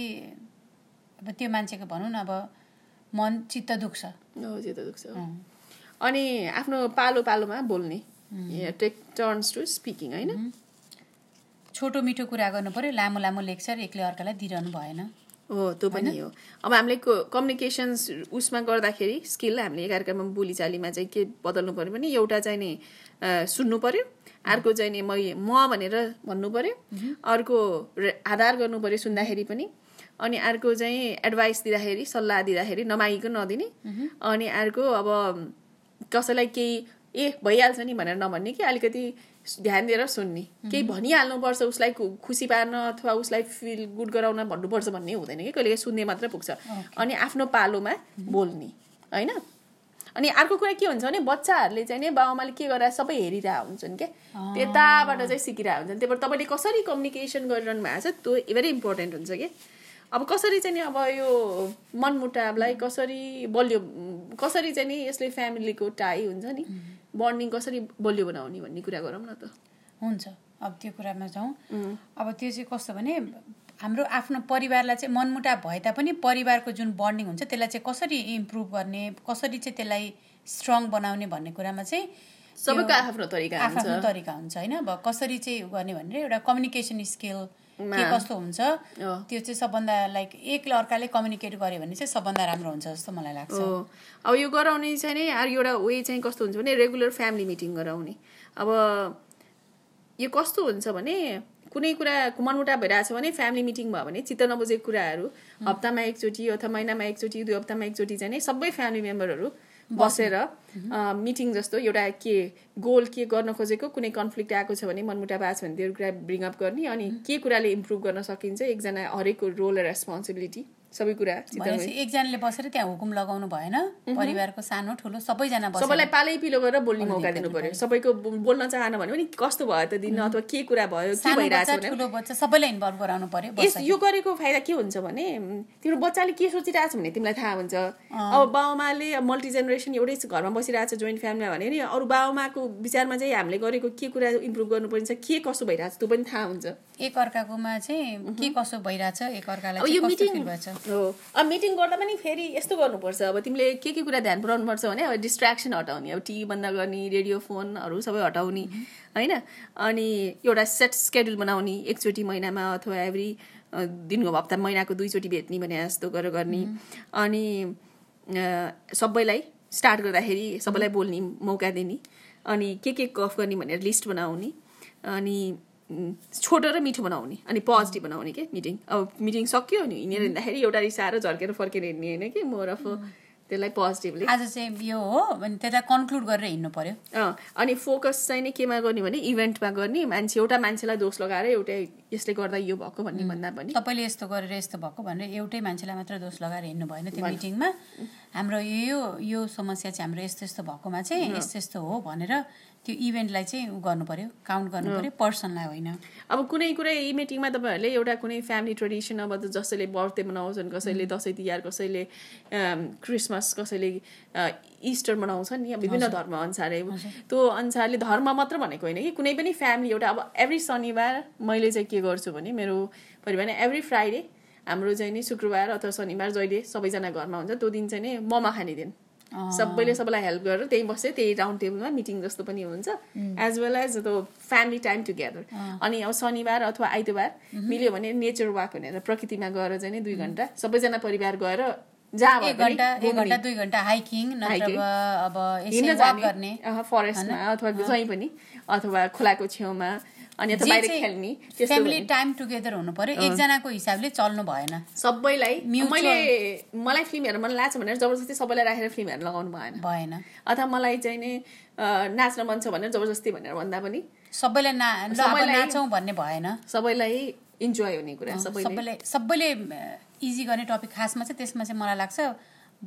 अब त्यो मान्छेको भनौँ न अब मन चित्त दुख्छ हो, त्यो त दुख्छ अनि आफ्नो पालो पालोमा बोल्ने टेक टर्न्स टु स्पिकिङ होइन छोटो मिठो कुरा गर्नु पर्यो लामो लामो लेक्चर एक्लै अर्कालाई दिइरहनु भएन हो त्यो पनि हो अब हामीले कम्युनिकेसन्स उसमा गर्दाखेरि स्किल हामीले एकाअर्कामा बोलीचालीमा चाहिँ के बदल्नु पर्यो भने एउटा चाहिँ नि अ, सुन्नु पर्यो अर्को चाहिँ नि मै म भनेर भन्नु पर्यो अर्को रे- आधार गर्नु पर्यो सुन्दाखेरि पनि अनि अर्को चाहिँ एडभाइस दिँदाखेरि सल्लाह दिँदाखेरि नमागिकन नदिने अनि अर्को अब कसैलाई केही ए भइहाल्छ नि भनेर नभन्ने कि अलिकति ध्यान दिएर सुन्ने केही भनिहाल्नुपर्छ उसलाई खु- खुसी पार्न अथवा उसलाई फिल गुड गराउन भन्नुपर्छ भन्ने हुँदैन कि कहिले सुन्ने मात्र पुग्छ अनि आफ्नो पालोमा बोल्ने होइन अनि अर्को कुरा के हुन्छ भने बच्चाहरूले चाहिँ नि बाबुआमाले के गरेर सबै हेरिरहेको हुन्छन् क्या त्यताबाट चाहिँ सिकिरहेको हुन्छन् त्यही भएर तपाईँले कसरी कम्युनिकेसन गरिरहनु भएको छ त्यो भेरी इम्पोर्टेन्ट हुन्छ कि अब कसरी चाहिँ नि अब यो मनमुटावलाई कसरी बलियो कसरी चाहिँ नि यसले फ्यामिलीको टाई हुन्छ नि बन्डिङ कसरी बलियो बनाउने भन्ने कुरा गरौँ न त हुन्छ अब त्यो कुरामा जाउँ अब त्यो चाहिँ कस्तो भने हाम्रो आफ्नो परिवारलाई चाहिँ मनमुटा भए तापनि परिवारको जुन बन्डिङ हुन्छ त्यसलाई चाहिँ कसरी इम्प्रुभ गर्ने कसरी चाहिँ त्यसलाई स्ट्रङ बनाउने भन्ने कुरामा चाहिँ सबैको आफ्नो तरिका आफ्नो हुन्छ आफ्नो तरिका हुन्छ होइन अब कसरी चाहिँ उ गर्ने भनेर एउटा कम्युनिकेसन स्किल के कस्तो हुन्छ हो। त्यो चाहिँ सबभन्दा लाइक एकले अर्काले कम्युनिकेट गर्यो भने चाहिँ सबभन्दा राम्रो हुन्छ जस्तो मलाई लाग्छ हो अब यो गराउने चाहिँ नि अरू एउटा वे चाहिँ कस्तो हुन्छ भने रेगुलर फ्यामिली मिटिङ गराउने अब यो कस्तो हुन्छ भने कुनै कुरा मनमुटा भइरहेको छ भने फ्यामिली मिटिङ भयो भने चित्त नबुझेको कुराहरू हप्तामा एकचोटि अथवा महिनामा एकचोटि दुई हप्तामा एकचोटि चाहिँ नि सबै फ्यामिली मेम्बरहरू बसेर मिटिङ जस्तो एउटा के गोल के गर्न खोजेको कुनै कन्फ्लिक्ट आएको छ भने मनमुटा भएको छ भने त्यो कुरा ब्रिङअप गर्ने अनि के कुराले इम्प्रुभ गर्न सकिन्छ एकजना हरेकको रोल र रेस्पोन्सिबिलिटी सबै कुरा चित्त नबुझेको- भनेपछि एकजनाले बसेर त्यहाँ हुकुम लगाउनु भएन परिवारको सानो ठुलो सबैजना बसेर सबैलाई पालै पिलो गरेर बोल्ने मौका दिनु पर्यो सबैको बो- बोल्न चाहन भने पनि कस्तो भयो त दिन अथवा के कुरा भयो के सानो भइरहेछ बच्चा भने ठुलो बच्चा सबैलाई इन्भल्भ गराउनु पर्यो बस यस यो गरेको फाइदा के हुन्छ भने उम्, तिम्रो बच्चाले के सोचिरहेको छ भने तिमीलाई थाहा हुन्छ अब बाबुआमाले मल्टी जेनेरेसन एउटै घरमा बसिरहेको छ जोइन्ट फ्यामिलीमा भने नि अरू बाबुआमाको विचारमा चाहिँ हामीले गरेको के कुरा इम्प्रुभ गर्नुपर्ने छ के कसो भइरहेछ त्यो पनि थाहा हुन्छ एक अर्काकोमा चाहिँ के कसो भइरहेछ एक अर्कालाई अब चाहिँ यो कस्तो मिटिङ फिल भएछ हो अब मिटिङ गर्दा पनि फेरि यस्तो गर्नुपर्छ अब तिमीले के के कुरा ध्यान पुऱ्याउनुपर्छ भने अब डिस्ट्राक्सन हटाउने अब टिभी बन्द गर्ने रेडियो फोनहरू सबै हटाउने होइन अनि एउटा सेट स्केड्युल बनाउने एकचोटि महिनामा अथवा एभ्री दिनको हप्ता महिनाको दुईचोटि भेट्ने भने जस्तो गरेर गर्ने अनि अ, सबैलाई स्टार्ट गर्दाखेरि सबैलाई बोल्ने मौका दिने अनि के के कफ गर्ने भनेर लिस्ट बनाउने अनि उम्, छोटो र मिठो बनाउने अनि पोजिटिभ बनाउने के मिटिङ अब मिटिङ सक्यो नि हिँडेर हिँड्दाखेरि एउटा रिसाएर झर्केर फर्केर हिँड्ने होइन कि मोर अफ त्यसलाई पोजिटिभली आज चाहिँ यो हो अनि त्यसलाई कन्क्लुड गरेर हिँड्नु पर्यो अँ, अनि फोकस चाहिँ नि केमा गर्ने भने इभेन्टमा गर्ने मान्छे एउटा मान्छेलाई दोष लगाएर एउटा यसले गर्दा यो भएको भन्ने भन्दा पनि तपाईँले यस्तो गरेर यस्तो भएको भनेर एउटै मान्छेलाई मात्र दोष लगाएर हिँड्नु भएन त्यो मिटिङमा हाम्रो यो यो यो समस्या चाहिँ हाम्रो यस्तो यस्तो भएकोमा चाहिँ यस्तो यस्तो हो भनेर त्यो इभेन्टलाई चाहिँ उ गर्नु पर्यो काउन्ट गर्नु पर्यो पर्सनलाई होइन अब कुनै कुनै यी मिटिङमा तपाईँहरूले एउटा कुनै फ्यामिली ट्रेडिसन अब त जसैले बर्थडे मनाउँछन् कसैले दसैँ तिहार कसैले अम, क्रिसमस कसैले अ, इस्टर मनाउँछन् नि अब विभिन्न धर्म अनुसारै त्यो अनुसारले धर्म मात्र भनेको होइन कि कुनै पनि फ्यामिली एउटा अब एभ्री शनिबार मैले चाहिँ के गर्छु भने मेरो परिवारमा एभ्री फ्राइडे हाम्रो चाहिँ नि शुक्रबार अथवा शनिबार जहिले सबैजना घरमा हुन्छ त्यो दिन चाहिँ नि ममा खाने दिन सबैले सबैलाई हेल्प गरेर त्यही बस्यो त्यही राउन्ड टेबलमा मिटिङ जस्तो पनि हुन्छ as well as the family time together अनि अब शनिबार अथवा आइतबार मिल्यो भने नेचर वाक भनेर प्रकृतिमा गएर चाहिँ नि दुई घन्टा सबैजना परिवार गएर जहाँ भए एक पनि घन्टा एक घन्टा दुई घन्टा हाइकिङ नत्र Hiking. अब यसै हिँड्न वाक जाने, गर्ने अह, फरेस्टमा अथवा जहीँ पनि अथवा खोलाको छेउमा अनि अथवा बाहिर खेल्ने त्यस्तो फ्यामिली टाइम टुगेदर हुनु पर्यो एकजनाको हिसाबले चल्नु भएन सबैलाई Mutual. मैले मलाई फिल्म हेर्न मन लाग्छ भनेर जबरजस्ती सबैलाई राखेर फिल्म हेर्न लगाउनु भएन भएन अथवा मलाई चाहिँ नि अ, नाच्न मन छ भनेर जबरजस्ती भनेर भन्दा पनि सबैलाई ना ल अब सबैलाई- नाचौँ भन्ने भएन सबैलाई इन्जोय हुने कुरा सबैले सबैले सबैले इजी गर्ने टपिक खासमा चाहिँ त्यसमा चाहिँ मलाई लाग्छ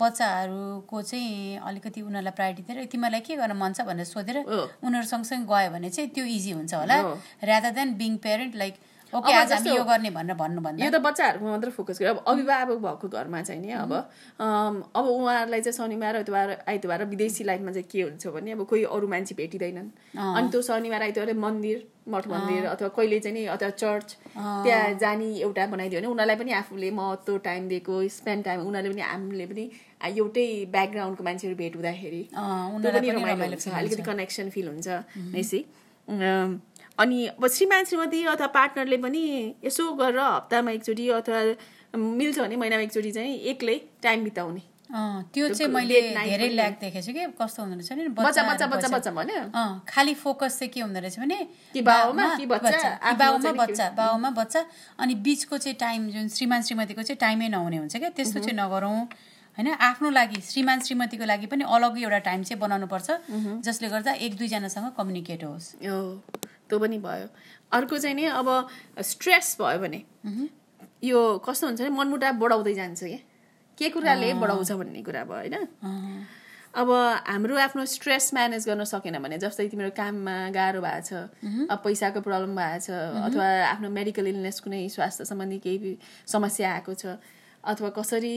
बच्चाहरूको चाहिँ अलिकति उनीहरूलाई प्रायोरिटी दिएर तिमीहरूलाई के गर्न मन छ भनेर सोधेर अँ। उनीहरू सँगसँगै गयो भने चाहिँ त्यो इजी हुन्छ होला अँ। Rather than being parent like okay अब आज हामी जस्तो- यो गर्ने भनेर भन्नुभन्दा यो त बच्चाहरूको मात्र फोकस गर्यो अब अभिभावक भएको घरमा चाहिँ नि अब अम, अब उहाँहरूलाई चाहिँ शनिबार आइतबार आइतबार विदेशी लाइफमा चाहिँ के हुन्छ भने अब कोही अरू मान्छे भेटिँदैनन् अनि त्यो शनिबार आइतबार मन्दिर मठ मन्दिर अथवा कहिले चाहिँ नि अथवा चर्च त्यहाँ जाने एउटा बनाइदियो भने उनीहरूलाई पनि आफूले महत्त्व टाइम दिएको स्पेन्ड टाइम उनीहरूले पनि हामीले पनि एउटै ब्याकग्राउन्डको मान्छेहरू भेट हुँदाखेरि अँ, त्यो पनि उनीहरूलाई पनि रमाइलो रमाइलो हुन्छ अलिकति कनेक्सन फिल हुन्छ यसै अम, अनि अब श्रीमान श्रीमती अथवा पार्टनरले पनि यसो गरेर हप्तामा एकचोटि अथवा मिल्छ भने महिनामा एकचोटि चाहिँ एक्लै टाइम बिताउने अँ, त्यो चाहिँ मैले धेरै ल्याक देखेको छु कि कस्तो हुँदो रहेछ नि बच्चा बच्चा बच्चाहरू बच्चा बसेर- बच्चा भन्यो अँ, खालि फोकस चाहिँ के हुँदो रहेछ भने कि बाउमा, बा- कि बच्चा, कि आफ्नो बाउमा चाहिँ नि बच्चा बाउमा बच्चा अनि बिचको चाहिँ टाइम जुन श्रीमान श्रीमतीको चाहिँ टाइमै नहुने हुन्छ क्या त्यस्तो चाहिँ नगरौँ होइन आफ्नो लागि श्रीमान श्रीमतीको लागि पनि अलग्गै एउटा टाइम चाहिँ बनाउनुपर्छ जसले गर्दा एक दुईजनासँग कम्युनिकेट होस् हो त्यो पनि भयो अर्को चाहिँ नि अब स्ट्रेस भयो भने Mhm. यो कस्तो हुन्छ भने मनमुटाव बढाउँदै जान्छ क्या के कुराले बढाउँछ भन्ने कुरा भयो होइन अँ, अब हाम्रो आफ्नो स्ट्रेस म्यानेज गर्न सकेन भने जस्तै तिम्रो काममा गाह्रो भएको छ Mhm. अब पैसाको प्रब्लम भएको छ अथवा आफ्नो मेडिकल इलनेस कुनै स्वास्थ्य सम्बन्धी केही समस्या आएको छ अथवा कसरी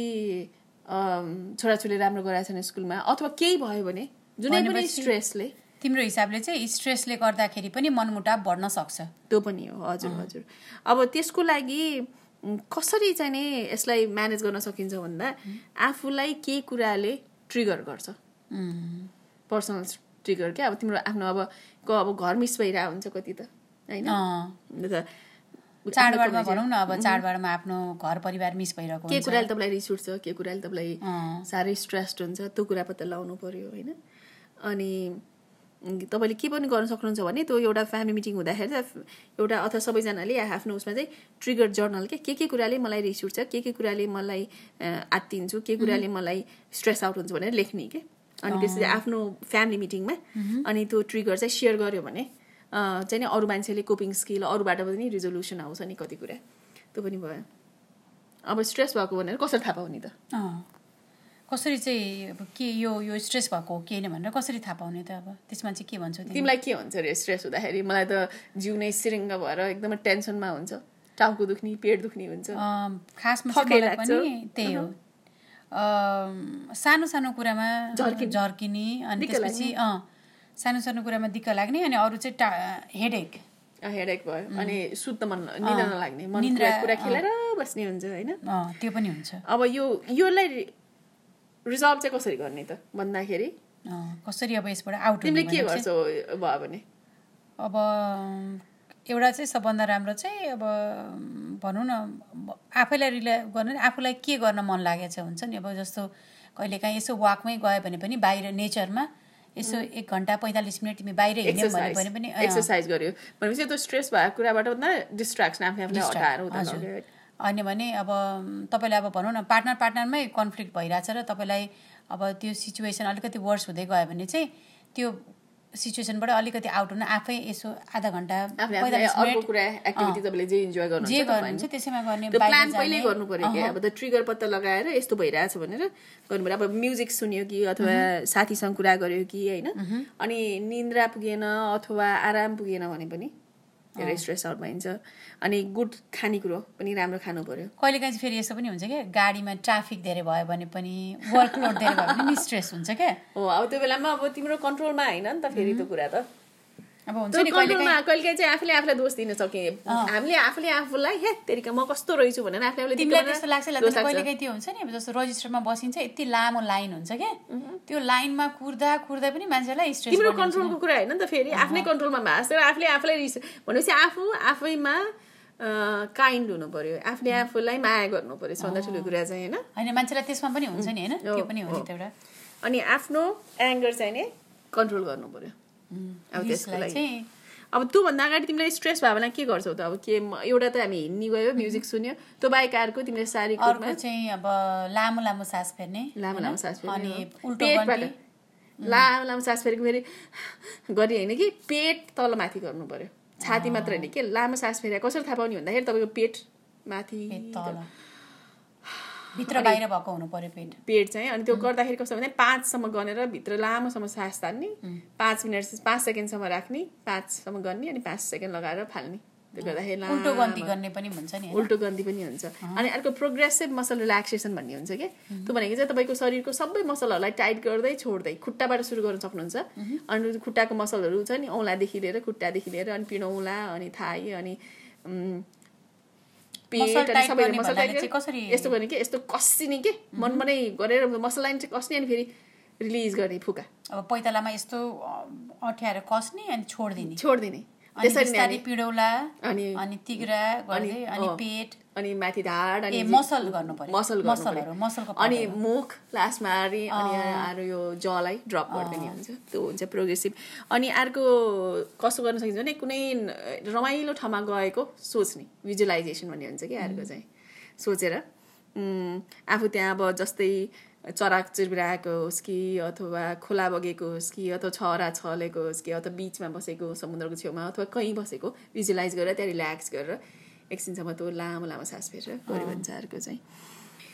अम, छोराछोरीले राम्रो गराएको छैन स्कुलमा अथवा केही भयो भने जुनै पनि भनेपछि- स्ट्रेसले तिम्रो हिसाबले चाहिँ स्ट्रेसले गर्दाखेरि पनि मनमुटाव बढ्न सक्छ त्यो पनि हो हजुर हजुर अब त्यसको लागि उम्, कसरी चाहिँ नि यसलाई म्यानेज गर्न सकिन्छ भन्दा आफूलाई केही कुराले ट्रिगर गर्छ उम्, पर्सनल ट्रिगर क्या अब तिम्रो आफ्नो अब क अब घर मिस भइरहेको हुन्छ कति त होइन अँ, अन्त चाडबाडमा भनौँ न अब चाडबाडमा आफ्नो घर परिवार मिस भइरहेको के हुन्छ कुराले तपाईँलाई रिस उठ्छ के कुराले तपाईँलाई अँ, साह्रै स्ट्रेस्ड हुन्छ त्यो कुरा पत्ता लगाउनु पर्यो होइन अनि तपाईँले के पनि गर्न सक्नुहुन्छ भने त्यो एउटा फ्यामिली मिटिङ हुँदाखेरि त एउटा अथवा सबैजनाले आफ्नो उसमा चाहिँ ट्रिगर जर्नल के के के कुराले मलाई रिस उठ्छ के के कुराले मलाई अ, आत्तिन्छु के कुराले मलाई स्ट्रेस आउट हुन्छ भनेर लेख्ने के अनि त्यसपछि आफ्नो फ्यामिली मिटिङमा अनि त्यो ट्रिगर चाहिँ सेयर गर्यो भने अ, चाहिँ नि अरू मान्छेले कोपिङ स्किल अरूबाट पनि रिजोल्युसन आउँछ नि कति कुरा त्यो पनि भयो अब स्ट्रेस भएको भनेर कसरी थाहा पाउने त अँ। कसरी चाहिँ अब के यो यो स्ट्रेस भएको हो कि होइन भनेर कसरी थाहा पाउने त अब त्यसमा चाहिँ के भन्छौ तिमी तिमीलाई के हुन्छ अरे स्ट्रेस हुँदाखेरि मलाई त जिउ नै सिरिङ्ग भएर एकदमै टेन्सनमा हुन्छ टाउको दुख्ने पेट दुख्ने हुन्छ अँ, खासमा थकाइ चाहिँ मलाई लाग्छ। पनि त्यही हो अम्, सानो सानो कुरामा झर्किने। झर्किने अनि दिक्क त्यसपछि अँ सानो सानो कुरामा दिक्क लाग्ने अनि अरू चाहिँ टा हेडेक हेडेक भयो अनि सुत्न मन निद्रा नलाग्ने मन निद्रा, कुरा कुरा खेलेर बस्ने हुन्छ होइन अँ त्यो पनि हुन्छ अब यो योलाई रि- रिजल्भ चाहिँ कसरी गर्ने त भन्दाखेरि अँ, कसरी अब यसबाट आउट तिमीले हुने के भनेर चाहिँ- गर्छौ भयो भने अब एउटा चाहिँ सबभन्दा राम्रो चाहिँ अब भनौँ न अब आफैलाई रिला गर्नु आफूलाई के गर्न मन लागेको छ हुन्छ नि अब जस्तो कहिलेकाहीँ यसो वाकमै गयो भने पनि बाहिर नेचरमा यसो एक घन्टा पैँतालिस मिनट तिमी बाहिर हिँड्यौ भने एक्सर्साइज भने पनि अँ, एक्सर्साइज गर्यो भनेपछि त्यो स्ट्रेस भएको कुराबाट भन्दा डिस्ट्राक्सन आफै आफूलाई डिस्ट्रा- हटाएर हुँदैन हजुर। right? अनि भने अब तपाईँलाई अब भनौँ न पार्टनर पार्टनरमै कन्फ्लिक्ट भइरहेछ र तपाईँलाई अब त्यो सिचुएसन अलिकति वर्स हुँदै गयो भने चाहिँ त्यो सिचुएसनबाट अलिकति आउट हुन आफै यसो आधा घन्टा आफूले आफूलाई 45 अर्को मिनट, कुरा एक्टिभिटी अँ, तपाईँले जे इन्जोय जे गर्नुहुन्छ गर्नुहुन्छ त्यसैमा गर्ने त्यो बाहिर प्लान पहिल्यै जाने, गर्नु पर्यो क्या अहँ, अब त ट्रिगर पत्ता लगाएर यस्तो भइरहेछ भनेर गर्नु पर्यो अब म्युजिक सुन्यो कि अथवा साथीसँग कुरा गर्यो कि होइन अनि निन्द्रा पुगेन अथवा आराम पुगेन भने पनि धेरै स्ट्रेस आउट भइन्छ अनि गुड खानेकुरो पनि राम्रो खानु पर्यो कहिलेकाहीँ चाहिँ फेरि यस्तो पनि हुन्छ क्या गाडीमा ट्राफिक धेरै भयो भने पनि वर्कलोड धेरै भयो भने पनि स्ट्रेस हुन्छ क्या हो अब त्यो बेलामा अब तिम्रो कन्ट्रोलमा होइन नि त फेरि त्यो कुरा त अब हुन्छ नि त्यो कहिलेकाहीँ कन्ट्रोलमा कहिलेकाहीँ चाहिँ आफूले आफूलाई दोष दिन सके हामीले आफूले आफूलाई हे तेरिका म कस्तो रहेछु भनेर आफूले आफूलाई तिमीलाई दिक्क त्यस्तो लाग्छ बनाएर लाग्दैन दोष लाग्छ। कहिलेकाहीँ त्यो हुन्छ नि अब जस्तो रजिस्टरमा बसिन्छ यति लामो लाइन हुन्छ क्या त्यो लाइनमा कुर्दा कुर्दा पनि मान्छेलाई स्ट्रेस तिम्रो बढ्ने हुन्छ। कन्ट्रोलको कुरा होइन नि त फेरि आफ्नै कन्ट्रोलमा भएको छ र आफूले आफूलाई रिस भनेपछि आफू आफैमा काइन्ड हुनु पर्यो आफूले Hmm. आफूलाई माया गर्नु पर्यो सधैँ ठुलो कुरा चाहिँ होइन होइन मान्छेलाई त्यसमा पनि हुन्छ नि होइन त्यो पनि हो नि त एउटा अनि आफ्नो एङ्गर चाहिँ नि कन्ट्रोल गर्नु पर्यो अब त्यसको रिसलाई लागि Hmm. चाहिँ अब त्योभन्दा अगाडि तिमीलाई स्ट्रेस भयो भने के गर्छौ त अब के म- एउटा त हामी हिँड्ने गयो म्युजिक सुन्यो त्यो बाहेक अर्को तिमीले शारीरिक रूपमा अर्को चाहिँ अब लामो लामो सास फेर्ने लामो होइन? लामो सास फेर्ने अनि हो। उल्टो पेटबाट। गन्ती लामो लामो सास फेरेको फेरि गरी होइन कि पेट तल माथि गर्नु पर्यो छाती मात्र होइन कि लामो सास फेरि कसरी थाहा पाउने भन्दाखेरि तपाईँको पेट माथि पेट तल भित्र बाहिर भएको हुनु पर्यो पेट पेट चाहिँ अनि त्यो गर्दाखेरि कस्तो भन्दा पाँचसम्म गनेर भित्र लामोसम्म सास तान्ने पाँच मिनट पाँच सेकेन्डसम्म राख्ने पाँचसम्म गर्ने अनि पाँच सेकेन्ड लगाएर फाल्ने त्यो गर्दाखेरि उल्टो लामो गन्ती गर्ने पनि हुन्छ नि होइन? उल्टो गन्ती पनि हुन्छ अनि अर्को प्रोग्रेसिभ मसल रिल्याक्सेसन भन्ने हुन्छ कि त्यो भनेको चाहिँ तपाईँको शरीरको सबै मसलहरूलाई टाइट गर्दै छोड्दै खुट्टाबाट सुरु गर्न सक्नुहुन्छ अनि खुट्टाको मसलहरू छ नि औँलादेखि लिएर खुट्टादेखि लिएर अनि पिँडौला अनि थाई अनि उम्, मसल पेट अनि टाइट सबै गर्ने मसल भन्नाले टाइट चाहिँ कसरी- गरेर यस्तो गर्ने कि यस्तो कस्सिने के मनमनै गरेर मसललाई चाहिँ कस्ने अनि फेरि रिलिज गर्ने फुका अब पैतालामा यस्तो अ, अँठ्याएर कस्ने अनि छोडिदिने छोडिदिने अनि त्यसरी नै बिस्तारै अनि- पिडौला अनि अनि तिग्रा गर्दै अनि- अनि अँ। पेट अनि माथि ढाड अनि ए जि- मसल गर्नु पर्यो मसल गर्नु मसलहरू पर्यो। मसलको अनि पाउडर। मुख लास्टमा आरी अनि अरू यो जलाई ड्रप गरिदिने हुन्छ त्यो हुन्छ प्रोग्रेसिभ अनि अर्को कस्तो गर्न सकिन्छ भने कुनै न- रमाइलो ठाउँमा गएको सोच्ने भिजुलाइजेसन भन्ने हुन्छ कि अर्को चाहिँ सोचेर उम्, आफू त्यहाँ अब जस्तै चराक चिरबिराएको होस् कि अथवा खोला बगेको होस् कि अथवा छरा छलेको होस् कि अथवा बिचमा बसेको समुद्रको छेउमा अथवा कहीँ बसेको भिजुलाइज गरेर त्यहाँ रिल्याक्स गरेर एकछिनसम्म त्यो लामो लामो सास फेरेर गऱ्यो भने चाहिँ अर्को चाहिँ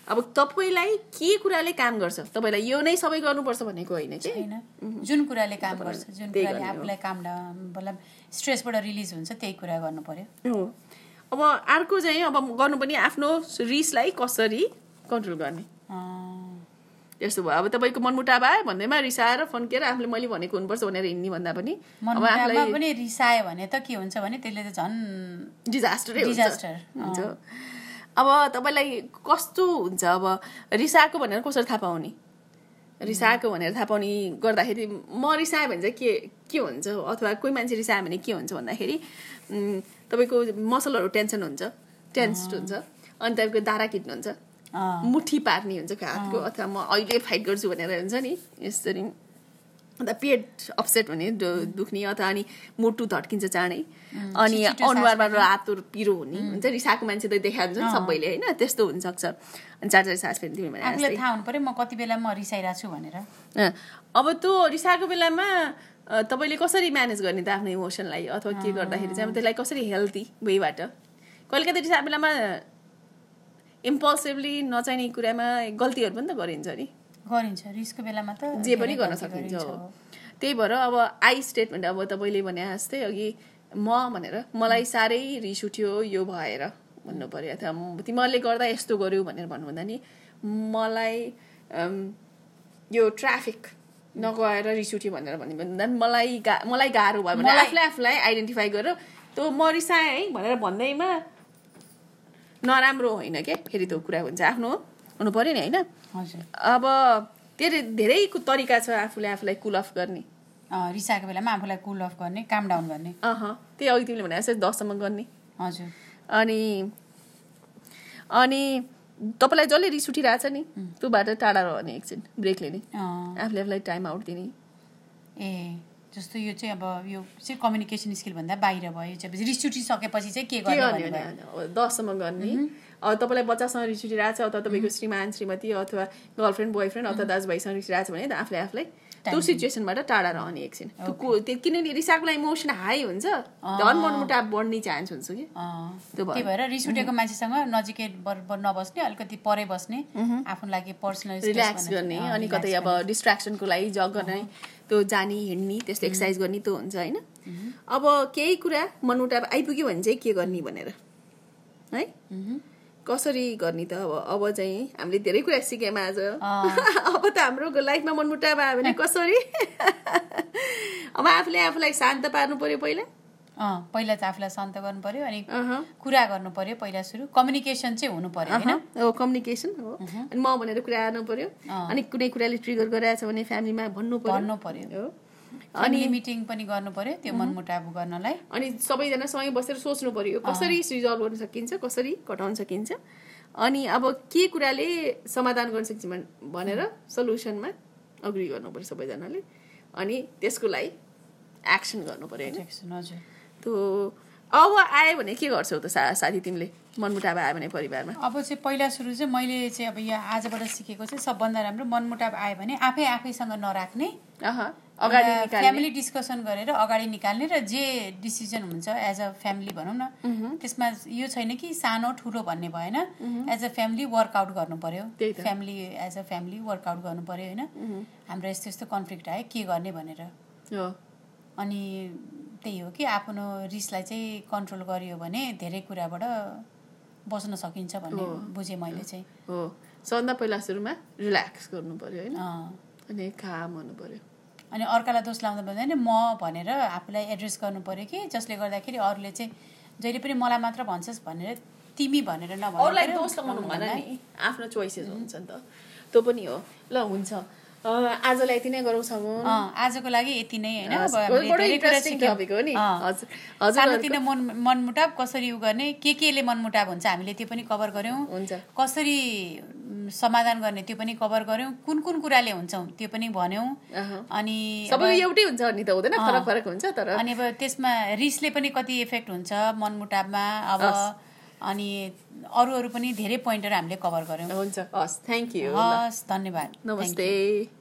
अब तपाईँलाई के कुराले काम गर्छ तपाईँलाई यो नै सबै गर्नुपर्छ भनेको होइन कि होइन जुन कुराले काम गर्छ जुन त्यही कुराले गर्ने हो। आफूलाई काम डा- मतलब स्ट्रेसबाट रिलिज हुन्छ त्यही कुरा गर्नु पर्यो हो अब अर्को चाहिँ अब गर्नु पनि आफ्नो रिसलाई कसरी कन्ट्रोल गर्ने अँ, त्यस्तो भयो अब तपाईँको मनमुटाव आयो भन्दैमा रिसाएर फन्केर आफूले मैले भनेको हुनुपर्छ भनेर हिँड्ने भन्दा पनि अब मनमुटावमा आफूलाई पनि रिसायो भने त के हुन्छ भने त्यसले त झन् डिजास्टरै हुन्छ। डिजास्टर, अँ। हुन्छ अब तपाईँलाई कस्तो हुन्छ अब रिसाएको भनेर कसरी थाहा पाउने रिसाएको भनेर थाहा पाउने गर्दाखेरि म रिसाएँ भने चाहिँ के के हुन्छ अथवा कोही मान्छे रिसायो भने के हुन्छ भन्दाखेरि उम्, तपाईँको मसलहरू टेन्सन हुन्छ टेन्स्ड हुन्छ अनि तपाईँको दारा किट्नुहुन्छ अँ, मुठी पार्ने हुन्छ हातको अथवा म अहिले फाइट गर्छु भनेर हुन्छ नि यसरी अन्त पेट अपसेट हुने दु- दुख्ने अथवा अनि मुटु धड्किन्छ चाँडै अनि छिटो सास अनुहारबाट आतुर पिरो हुने हुन्छ रिसाएको मान्छे त देखा हुन्छ नि सबैले होइन त्यस्तो हुनसक्छ अनि चार चार सास फेरि तिमी भने आफूलाई जस्तै। थाहा हुनु पर्यो म कति बेला म रिसाइरहेको छु भनेर अँ, अब त्यो रिसाएको बेलामा अ, तपाईँले कसरी म्यानेज गर्ने त आफ्नो इमोसनलाई अथवा के गर्दाखेरि चाहिँ अब त्यसलाई कसरी हेल्दी वेबाट कहिलेकाहीँ त रिसाएको बेलामा इम्पल्सिभली नचाहिने कुरामा गल्तीहरू पनि त गरिन्छ नि गरिन्छ रिसको बेलामा त जे पनि धेरै गर्न गल्ती सकिन्छ गरिन्छ। हो। त्यही भएर अब आई स्टेटमेन्ट अब तपाईँले भने जस्तै अघि म भनेर मलाई साह्रै रिस उठ्यो यो भएर भन्नु पर्यो अथवा म- तिमीहरूले गर्दा यस्तो गर्यो भनेर भन्नुभन्दा नि मलाई अम, यो ट्राफिक नगएर रिस उठ्यो भनेर भन्नुभन्दा नि मलाई गा मलाई गाह्रो भयो भने मलाई- आफूलाई आफूलाई आइडेन्टिफाई गरेर त्यो म रिसाएँ है भनेर भन्दैमा नराम्रो होइन के फेरि त्यो कुरा हुन्छ आफ्नो हुनु पर्यो नि होइन हजुर अब धेरै धेरै कु- तरिका छ आफूले आफूलाई कुल अफ गर्ने अँ, रिसाएको बेलामा आफूलाई कुल अफ गर्ने काम डाउन गर्ने अह त्यही अघि तिमीले भने जस्तै दससम्म गर्ने हजुर अनि अनि तपाईँलाई जसले रिस उठिरहेछ नि त्योबाट टाढा रहने एकछिन ब्रेक लिने अँ, आफूले आफूलाई टाइम आउट दिने ए जस्तो यो चाहिँ अब यो चाहिँ कम्युनिकेसन स्किल भन्दा बाहिर भयो यो चाहिँ रिस उठिसकेपछि चाहिँ के के गर्ने गर्ने होला? अब दससम्म गर्ने अब तपाईँलाई बच्चासँग रिस उठिरहेको छ अथवा तपाईँको श्रीमान श्रीमती अथवा गर्लफ्रेन्ड बोयफ्रेन्ड अथवा दाजुभाइसँग रिस उठिरहेको छ भने त आफूले आफूलाई त्यो सिचुएसनबाट टाढा रहने एकछिन त्यो को- त्यो किनभने रिसाएकोलाई इमोसन हाई हुन्छ धन मनमुटा बढ्ने चान्स हुन्छ कि अँ, त्यो भयो। त्यही भएर रिस उठेको मान्छेसँग नजिकै बर- बर नबस्ने अलिकति परै बस्ने आफ्नो लागि पर्सनल रिल्याक्स गर्ने अनि कतै अब डिस्ट्राक्सनको लागि जग गर्ने त्यो जाने हिँड्ने त्यस्तो एक्सर्साइज गर्ने त्यो हुन्छ होइन अब केही कुरा मनमुटा आइपुग्यो भने चाहिँ के गर्ने भनेर है कसरी गर्ने त अब अब चाहिँ हामीले धेरै कुरा सिक्यौँ आज [LAUGHS] अब त हाम्रो लाइफमा मनमुटा भयो [LAUGHS] भने कसरी अब आफूले आफूलाई शान्त पार्नु पर्यो पहिला पहिला चाहिँ आफूलाई शान्त गर्नु पर्यो अनि अहँ। कुरा गर्नु पर्यो पहिला सुरु कम्युनिकेसन चाहिँ हुनु पर्यो होइन अहँ, हो कम्युनिकेसन हो अनि म भनेर कुरा आउनु पर्यो अनि कुनै कुराले ट्रिगर गराएछ भने फ्यामिलीमा भन्नु पर्यो भन्नु पर्यो हो अनि मिटिङ पनि गर्नु पर्यो त्यो मनमुटाव गर्नलाई अनि सबैजना सँगै बसेर सोच्नु पर्यो यो कसरी रिजल्भ गर्न सकिन्छ कसरी घटाउन सकिन्छ अनि अब के कुराले समाधान गर्न सकिन्छ भन- भनेर सल्युसनमा अग्री गर्नु पर्यो सबैजनाले अनि त्यसको लागि एक्सन गर्नु पर्यो होइन Protection, हजुर त्यो अब आयो भने के गर्छौ त सा साथी तिमीले मनमुटाव आयो भने परिवारमा अब चाहिँ पहिला सुरु चाहिँ मैले चाहिँ अब यो आजबाट सिकेको चाहिँ सबभन्दा राम्रो मनमुटाव आयो भने आफै आफैसँग नराख्ने अह अगाडि एउटा निकाल्ने फ्यामिली डिस्कसन गरेर अगाडि निकाल्ने र जे डिसिजन हुन्छ एज अ फ्यामिली भनौँ न त्यसमा यो छैन कि सानो ठुलो भन्ने भएन एज अ फ्यामिली वर्कआउट गर्नु पर्यो त्यही त। Family as a family workout गर्नु पर्यो होइन हाम्रो यस्तो यस्तो कन्फ्लिक्ट आयो के गर्ने भनेर हो अनि त्यही हो कि आफ्नो रिसलाई चाहिँ कन्ट्रोल गरियो भने धेरै कुराबाट बस्न सकिन्छ भन्ने बुझेँ मैले चाहिँ हो सबभन्दा पहिला सुरुमा रिल्याक्स गर्नु पर्यो होइन अँ। अनि काम हुनु पर्यो अनि अर्कालाई दोष लाउँदा भन्दा नि म भनेर आफूलाई एड्रेस गर्नु पर्यो कि जसले गर्दाखेरि अरूले चाहिँ जहिले पनि मलाई मात्र भन्छस् भनेर तिमी भनेर नभन्नु अरूलाई पर्यो। दोष लगाउनु भएन नि आफ्नो चोइसेस हुन्छ नि त त्यो पनि हो ल हुन्छ अ, आजलाई यति नै गरौँ सगुन अँ, आजको लागि यति नै होइन अब हामीले बडो धेरै कुरा इन्ट्रेस्टिङ सिक्यौँ। टपिक हो नि अँ। हजुर हजुर सानोतिनो मन मनमुटाव कसरी उ गर्ने के केले मनमुटाव हुन्छ हामीले त्यो पनि कभर गऱ्यौँ हुन्छ कसरी उम्, समाधान गर्ने त्यो पनि कभर गऱ्यौँ कुन कुन कुराले हुन्छौँ त्यो पनि भन्यौँ अहँ। अनि अब- सबैको एउटै हुन्छ नि त हुँदैन फरक फरक हुन्छ तर अनि अब त्यसमा रिसले पनि कति इफेक्ट हुन्छ मनमुटावमा अब अनि अरू अरू पनि धेरै पोइन्टहरू हामीले कभर गऱ्यौँ Ah. हुन्छ हस् थ्याङ्क यू हस् धन्यवाद नमस्ते